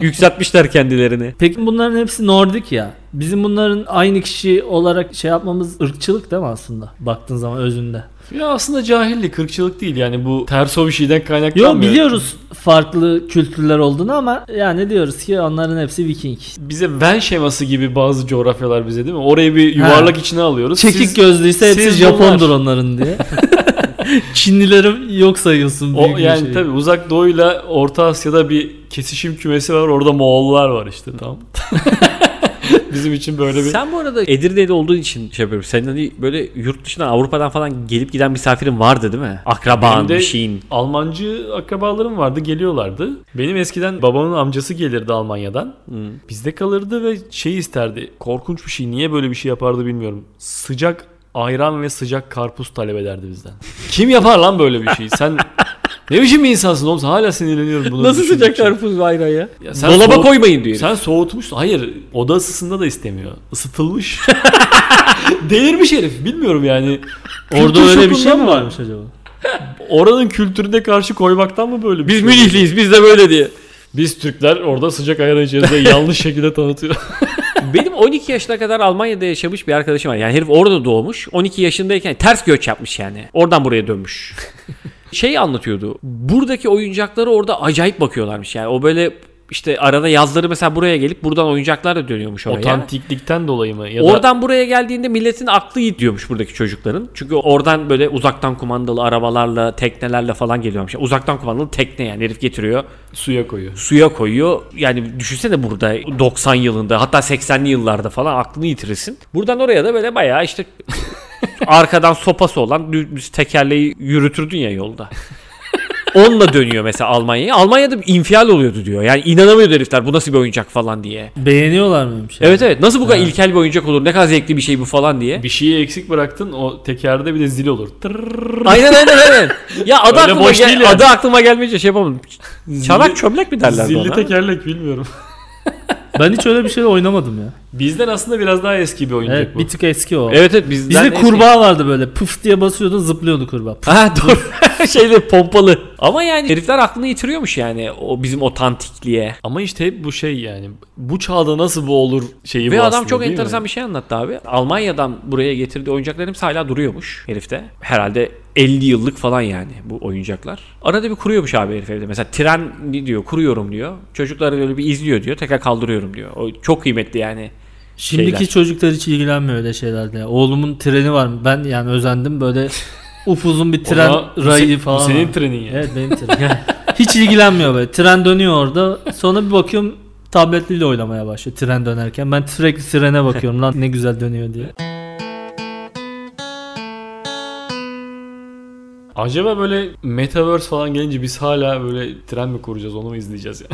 Speaker 1: yükseltmişler kendilerini.
Speaker 3: Peki bunların hepsi Nordik ya. Bizim bunların aynı kişi olarak şey yapmamız ırkçılık değil mi aslında? Baktığın zaman özünde.
Speaker 2: Ya aslında cahillik, kırkçılık değil yani bu terso bir şeyden kaynaklanmıyor.
Speaker 3: Yo biliyoruz farklı kültürler olduğunu ama yani diyoruz ki onların hepsi Viking.
Speaker 2: Bize Ven şeması gibi bazı coğrafyalar bize değil mi? Orayı bir yuvarlak içine alıyoruz.
Speaker 3: Çekik
Speaker 2: Siz-
Speaker 3: gözlüyse hepsi
Speaker 2: siz
Speaker 3: Japondur
Speaker 2: (laughs)
Speaker 3: onların diye. Çinlileri yok sayıyorsun
Speaker 2: O
Speaker 3: büyük bir
Speaker 2: yani
Speaker 3: şey.
Speaker 2: tabii uzak doğuyla Orta Asya'da bir kesişim kümesi var. Orada Moğollar var işte tamam. (laughs) Bizim için böyle bir
Speaker 1: Sen bu arada Edirne'de olduğun için şey yapıyorum. Senin hani böyle yurt dışından Avrupa'dan falan gelip giden misafirin vardı değil mi? Akraban
Speaker 2: Benim de-
Speaker 1: bir şeyin.
Speaker 2: Almancı akrabalarım vardı, geliyorlardı. Benim eskiden babamın amcası gelirdi Almanya'dan. Bizde kalırdı ve şey isterdi. Korkunç bir şey. Niye böyle bir şey yapardı bilmiyorum. Sıcak ayran ve sıcak karpuz talep ederdi bizden. Kim yapar lan böyle bir şeyi? Sen ne biçim bir insansın oğlum? Hala sinirleniyorum bunu.
Speaker 1: Nasıl
Speaker 2: düşündükçe.
Speaker 1: sıcak karpuz bayrağı ya?
Speaker 2: Ya sen
Speaker 1: Dolaba
Speaker 2: soğut-
Speaker 1: koymayın diyor. herif.
Speaker 2: Sen soğutmuşsun. Hayır, oda ısısında da istemiyor. Isıtılmış. (laughs) Delirmiş herif. Bilmiyorum yani.
Speaker 3: Orada
Speaker 2: Kültür
Speaker 3: öyle bir şey
Speaker 2: şokundan
Speaker 3: mi varmış acaba?
Speaker 2: Oranın kültürüne karşı koymaktan mı böyle bir
Speaker 1: Biz
Speaker 2: şey?
Speaker 1: Münihliyiz biz de böyle diye.
Speaker 2: Biz Türkler orada sıcak ayran içerisinde yanlış
Speaker 1: (laughs)
Speaker 2: şekilde tanıtıyor.
Speaker 1: (laughs) Benim 12 yaşına kadar Almanya'da yaşamış bir arkadaşım var. Yani herif orada doğmuş. 12 yaşındayken ters göç yapmış yani. Oradan buraya (laughs) dönmüş. şey anlatıyordu. Buradaki oyuncaklara orada acayip bakıyorlarmış. Yani o böyle işte arada yazları mesela buraya gelip buradan oyuncaklarla dönüyormuş oraya.
Speaker 2: Otantiklikten dolayı mı? Ya da
Speaker 1: Oradan buraya geldiğinde milletin aklı gidiyormuş buradaki çocukların. Çünkü oradan böyle uzaktan kumandalı arabalarla, teknelerle falan geliyormuş. Yani Uzaktan kumandalı tekne yani herif getiriyor
Speaker 2: suya koyuyor.
Speaker 1: suya koyuyor. Yani düşünsene burada 90 yılında hatta 80'li yıllarda falan aklını yitirirsin. Buradan oraya da böyle bayağı
Speaker 2: (laughs)
Speaker 1: işte arkadan sopası olan düz tekerleği yürütürdün ya yolda. Onunla dönüyor mesela Almanya'ya. Almanya'da bir infial oluyordu diyor. Yani inanamıyordu herifler bu nasıl bir oyuncak falan diye.
Speaker 3: Beğeniyorlar mıymış? yani?
Speaker 1: Evet evet nasıl bu kadar ilkel bir oyuncak olur ne kadar zevkli bir şey bu falan diye.
Speaker 2: Bir şeyi eksik bıraktın o tekerde bir de zil olur.
Speaker 1: (laughs)
Speaker 2: Tırrrr.
Speaker 1: Aynen aynen aynen. Ya adı,
Speaker 2: Öyle
Speaker 1: aklıma,
Speaker 2: boş
Speaker 1: gel-
Speaker 2: değil yani.
Speaker 1: adı aklıma gelmeyince şey yapamadım. Çanak çömlek mi derlerdi
Speaker 2: Zilli
Speaker 1: ona?
Speaker 2: tekerlek bilmiyorum.
Speaker 3: Ben hiç öyle bir şeyle oynamadım ya.
Speaker 2: Bizden aslında biraz daha eski bir oyuncak
Speaker 3: Evet
Speaker 2: bu.
Speaker 3: bir tık eski o.
Speaker 1: Evet evet bizden
Speaker 3: Bizde
Speaker 1: eski.
Speaker 3: kurbağa vardı böyle puf diye basıyordun zıplıyordu kurbağa. Puf.
Speaker 1: Ha doğru. (laughs) Şeyle pompalı. Ama yani herifler aklını yitiriyormuş yani o bizim otantikliğe.
Speaker 2: Ama işte hep bu şey yani. Bu çağda nasıl bu olur şeyi
Speaker 1: Ve
Speaker 2: bu
Speaker 1: adam
Speaker 2: aslında,
Speaker 1: çok
Speaker 2: değil mi?
Speaker 1: enteresan bir şey anlattı abi. Almanya'dan buraya getirdiği oyuncakların hepsi hala duruyormuş herifte. Herhalde 50 yıllık falan yani bu oyuncaklar. Arada bir kuruyormuş abi herif evde. Mesela tren diyor kuruyorum diyor. Çocuklar öyle bir izliyor diyor. Tekrar kaldırıyorum diyor. O çok kıymetli yani.
Speaker 3: Şimdiki
Speaker 1: şeyler.
Speaker 3: çocuklar hiç ilgilenmiyor öyle şeylerle. Oğlumun treni var mı? Ben yani
Speaker 2: (laughs)
Speaker 3: özendim böyle upuzun bir tren
Speaker 2: Ona- bu
Speaker 3: rayı
Speaker 2: se- bu
Speaker 3: falan. var.
Speaker 2: senin trenin yani.
Speaker 3: Evet benim trenim.
Speaker 2: (laughs)
Speaker 3: Yani hiç ilgilenmiyor böyle. Tren dönüyor orada. Sonra bir bakıyorum tabletliyle oynamaya başlıyor tren dönerken. Ben sürekli trene bakıyorum lan ne güzel dönüyor diye.
Speaker 2: Acaba böyle metaverse falan gelince biz hala böyle tren mi kuracağız onu mu izleyeceğiz ya?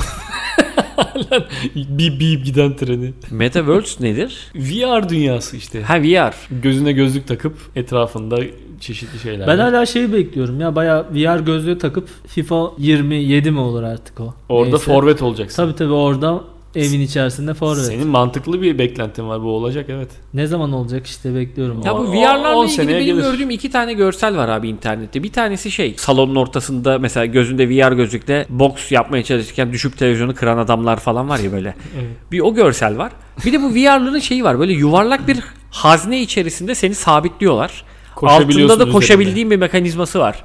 Speaker 2: Hala bip bip giden treni.
Speaker 1: Metaverse nedir?
Speaker 2: VR dünyası işte.
Speaker 1: Ha VR.
Speaker 2: Gözüne gözlük takıp etrafında çeşitli şeyler.
Speaker 3: Ben hala şeyi bekliyorum ya bayağı VR gözlüğü takıp FIFA 27 mi olur artık o?
Speaker 2: Orada
Speaker 3: Neyse.
Speaker 2: forvet olacaksın.
Speaker 3: Tabii tabii orada evin içerisinde forvet.
Speaker 2: Senin mantıklı bir beklentin var bu olacak evet.
Speaker 3: Ne zaman olacak işte bekliyorum.
Speaker 1: Ya
Speaker 2: O-
Speaker 1: bu
Speaker 2: o-
Speaker 1: VR'larla
Speaker 2: on
Speaker 1: ilgili
Speaker 2: seneye
Speaker 1: benim
Speaker 2: gelir.
Speaker 1: gördüğüm iki tane görsel var abi internette. Bir tanesi şey salonun ortasında mesela gözünde VR gözlükle boks yapmaya çalışırken düşüp televizyonu kıran adamlar falan var ya böyle. Bir o görsel var. Bir de bu VR'ların şeyi var böyle yuvarlak bir hazne içerisinde seni sabitliyorlar.
Speaker 2: Koşabiliyorsun
Speaker 1: Altında da
Speaker 2: üzerinde.
Speaker 1: koşabildiğin bir mekanizması var.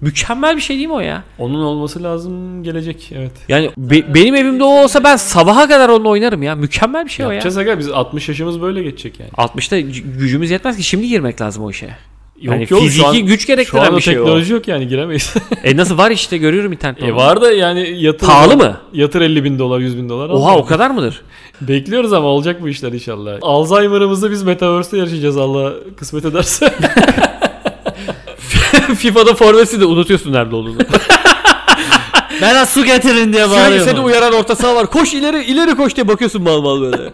Speaker 1: Mükemmel bir şey değil mi o ya? Ee,
Speaker 2: Onun olması lazım gelecek evet.
Speaker 1: Yani be- benim evimde o olsa ben sabaha kadar onunla oynarım ya. Mükemmel bir şey o ya.
Speaker 2: Yapacağız aga biz 60 yaşımız böyle geçecek yani.
Speaker 1: 60'ta c- gücümüz yetmez ki şimdi girmek lazım o işe.
Speaker 2: Yok
Speaker 1: Yani
Speaker 2: yok
Speaker 1: fiziki
Speaker 2: şu an,
Speaker 1: güç
Speaker 2: şu
Speaker 1: gerektiren
Speaker 2: an o
Speaker 1: bir şey o.
Speaker 2: teknoloji yok
Speaker 1: (laughs)
Speaker 2: yani giremeyiz.
Speaker 1: E nasıl var işte görüyorum internette.
Speaker 2: e
Speaker 1: onu.
Speaker 2: var da yani yatır.
Speaker 1: Pahalı mı?
Speaker 2: Yatır 50 bin dolar 100 bin dolar. al
Speaker 1: Oha
Speaker 2: yani.
Speaker 1: o kadar mıdır?
Speaker 2: Bekliyoruz ama olacak bu işler inşallah. Alzheimer'ımızı biz Metaverse'de yaşayacağız Allah
Speaker 1: (laughs)
Speaker 2: kısmet ederse.
Speaker 1: (laughs) FIFA'da forvesi de unutuyorsun nerede olduğunu.
Speaker 3: Ben su getirin diye
Speaker 1: Sürekli seni
Speaker 3: bağırıyorum.
Speaker 1: uyaran orta saha var. Koş ileri ileri koş diye bakıyorsun mal mal böyle.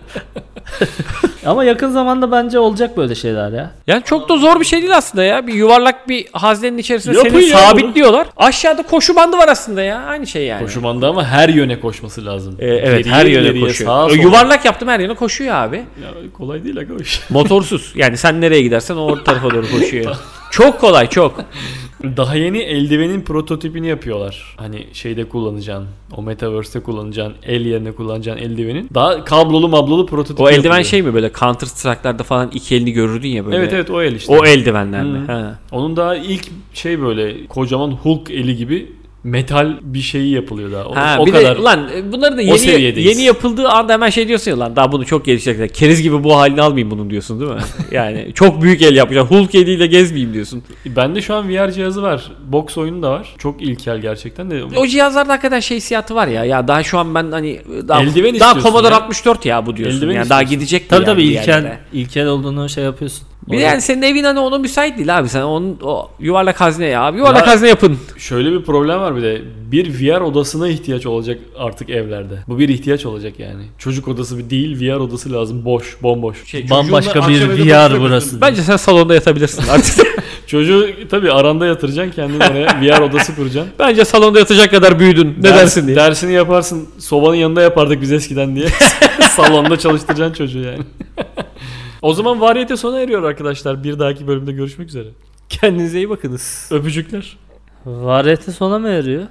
Speaker 3: Ama yakın zamanda bence olacak böyle şeyler ya.
Speaker 1: (laughs) Yani çok da zor bir şey değil aslında ya. Bir yuvarlak bir haznenin içerisinde
Speaker 2: Yapın
Speaker 1: seni
Speaker 2: ya
Speaker 1: sabitliyorlar. Aşağıda koşu bandı var aslında ya. Aynı şey yani.
Speaker 2: (laughs) Koşumanda ama her yöne koşması lazım.
Speaker 1: E, evet
Speaker 2: Geriye,
Speaker 1: her yöne
Speaker 2: ileriye, sağa,
Speaker 1: koşuyor. E,
Speaker 2: sola.
Speaker 1: Yuvarlak yaptım her yöne koşuyor abi.
Speaker 2: Ya, kolay değil aga o iş.
Speaker 1: (laughs) Motorsuz. Yani sen nereye gidersen o o tarafa doğru koşuyor. çok kolay çok.
Speaker 2: Daha yeni eldivenin prototipini yapıyorlar. Hani şeyde kullanacağın, o metaverse'te kullanacağın, el yerine kullanacağın eldivenin. Daha kablolu mablolu prototipi
Speaker 1: O eldiven
Speaker 2: yapılıyor.
Speaker 1: şey mi böyle Counter Strike'larda falan iki elini görürdün ya böyle.
Speaker 2: Evet evet o el işte.
Speaker 1: O eldivenler mi?
Speaker 2: Hı.
Speaker 1: Ha.
Speaker 2: Onun daha ilk şey böyle kocaman Hulk eli gibi metal bir şeyi yapılıyor daha. O,
Speaker 1: Ha,
Speaker 2: o
Speaker 1: bir
Speaker 2: kadar.
Speaker 1: de lan e, bunları da
Speaker 2: O
Speaker 1: yeni,
Speaker 2: seviyedeyiz.
Speaker 1: yeni yapıldığı anda hemen şey diyorsun ya lan daha bunu çok gelişecekler. Keriz gibi bu halini almayayım bunun diyorsun (laughs) değil mi? yani çok büyük el yapacağım. Hulk eliyle gezmeyeyim diyorsun.
Speaker 2: Bende şu an VR cihazı var. Boks oyunu da var. Çok ilkel gerçekten de.
Speaker 1: O cihazlarda hakikaten şey hissiyatı var ya. Ya daha şu an ben hani e, daha,
Speaker 2: Eldiven
Speaker 1: daha
Speaker 2: istiyorsun
Speaker 1: Commodore
Speaker 2: ya.
Speaker 1: 64 ya bu diyorsun.
Speaker 2: Eldiven
Speaker 1: yani daha
Speaker 2: istiyorsun.
Speaker 1: gidecek
Speaker 3: Tabii
Speaker 1: yani
Speaker 3: tabii
Speaker 1: bir
Speaker 3: ilkel,
Speaker 1: yerlere.
Speaker 3: ilkel olduğunu şey yapıyorsun.
Speaker 1: Bir de yani senin evin hani ona müsait değil abi. Sen onun o yuvarlak hazne ya. abi. Yuvarlak
Speaker 2: Ya-
Speaker 1: hazne yapın.
Speaker 2: Şöyle bir problem var bir de. Bir VR odasına ihtiyaç olacak artık evlerde. Bu bir ihtiyaç olacak yani. Çocuk odası bir değil VR odası lazım. Boş, bomboş.
Speaker 1: Şey,
Speaker 3: Bambaşka bir
Speaker 2: akşam evde
Speaker 3: VR
Speaker 2: bakıyorsun.
Speaker 3: burası.
Speaker 1: Bence sen salonda yatabilirsin artık. (laughs)
Speaker 2: Çocuğu tabii aranda yatıracaksın kendini oraya VR odası kuracaksın.
Speaker 1: Bence salonda yatacak kadar büyüdün. Ne
Speaker 2: Ders-
Speaker 1: dersin diye.
Speaker 2: Dersini yaparsın. Sobanın yanında yapardık biz
Speaker 1: (laughs)
Speaker 2: eskiden diye. Salonda çalıştıracaksın çocuğu yani. o zaman variyete sona eriyor arkadaşlar. Bir dahaki bölümde görüşmek üzere.
Speaker 1: Kendinize iyi bakınız.
Speaker 2: Öpücükler.
Speaker 3: Variyete sona mı eriyor?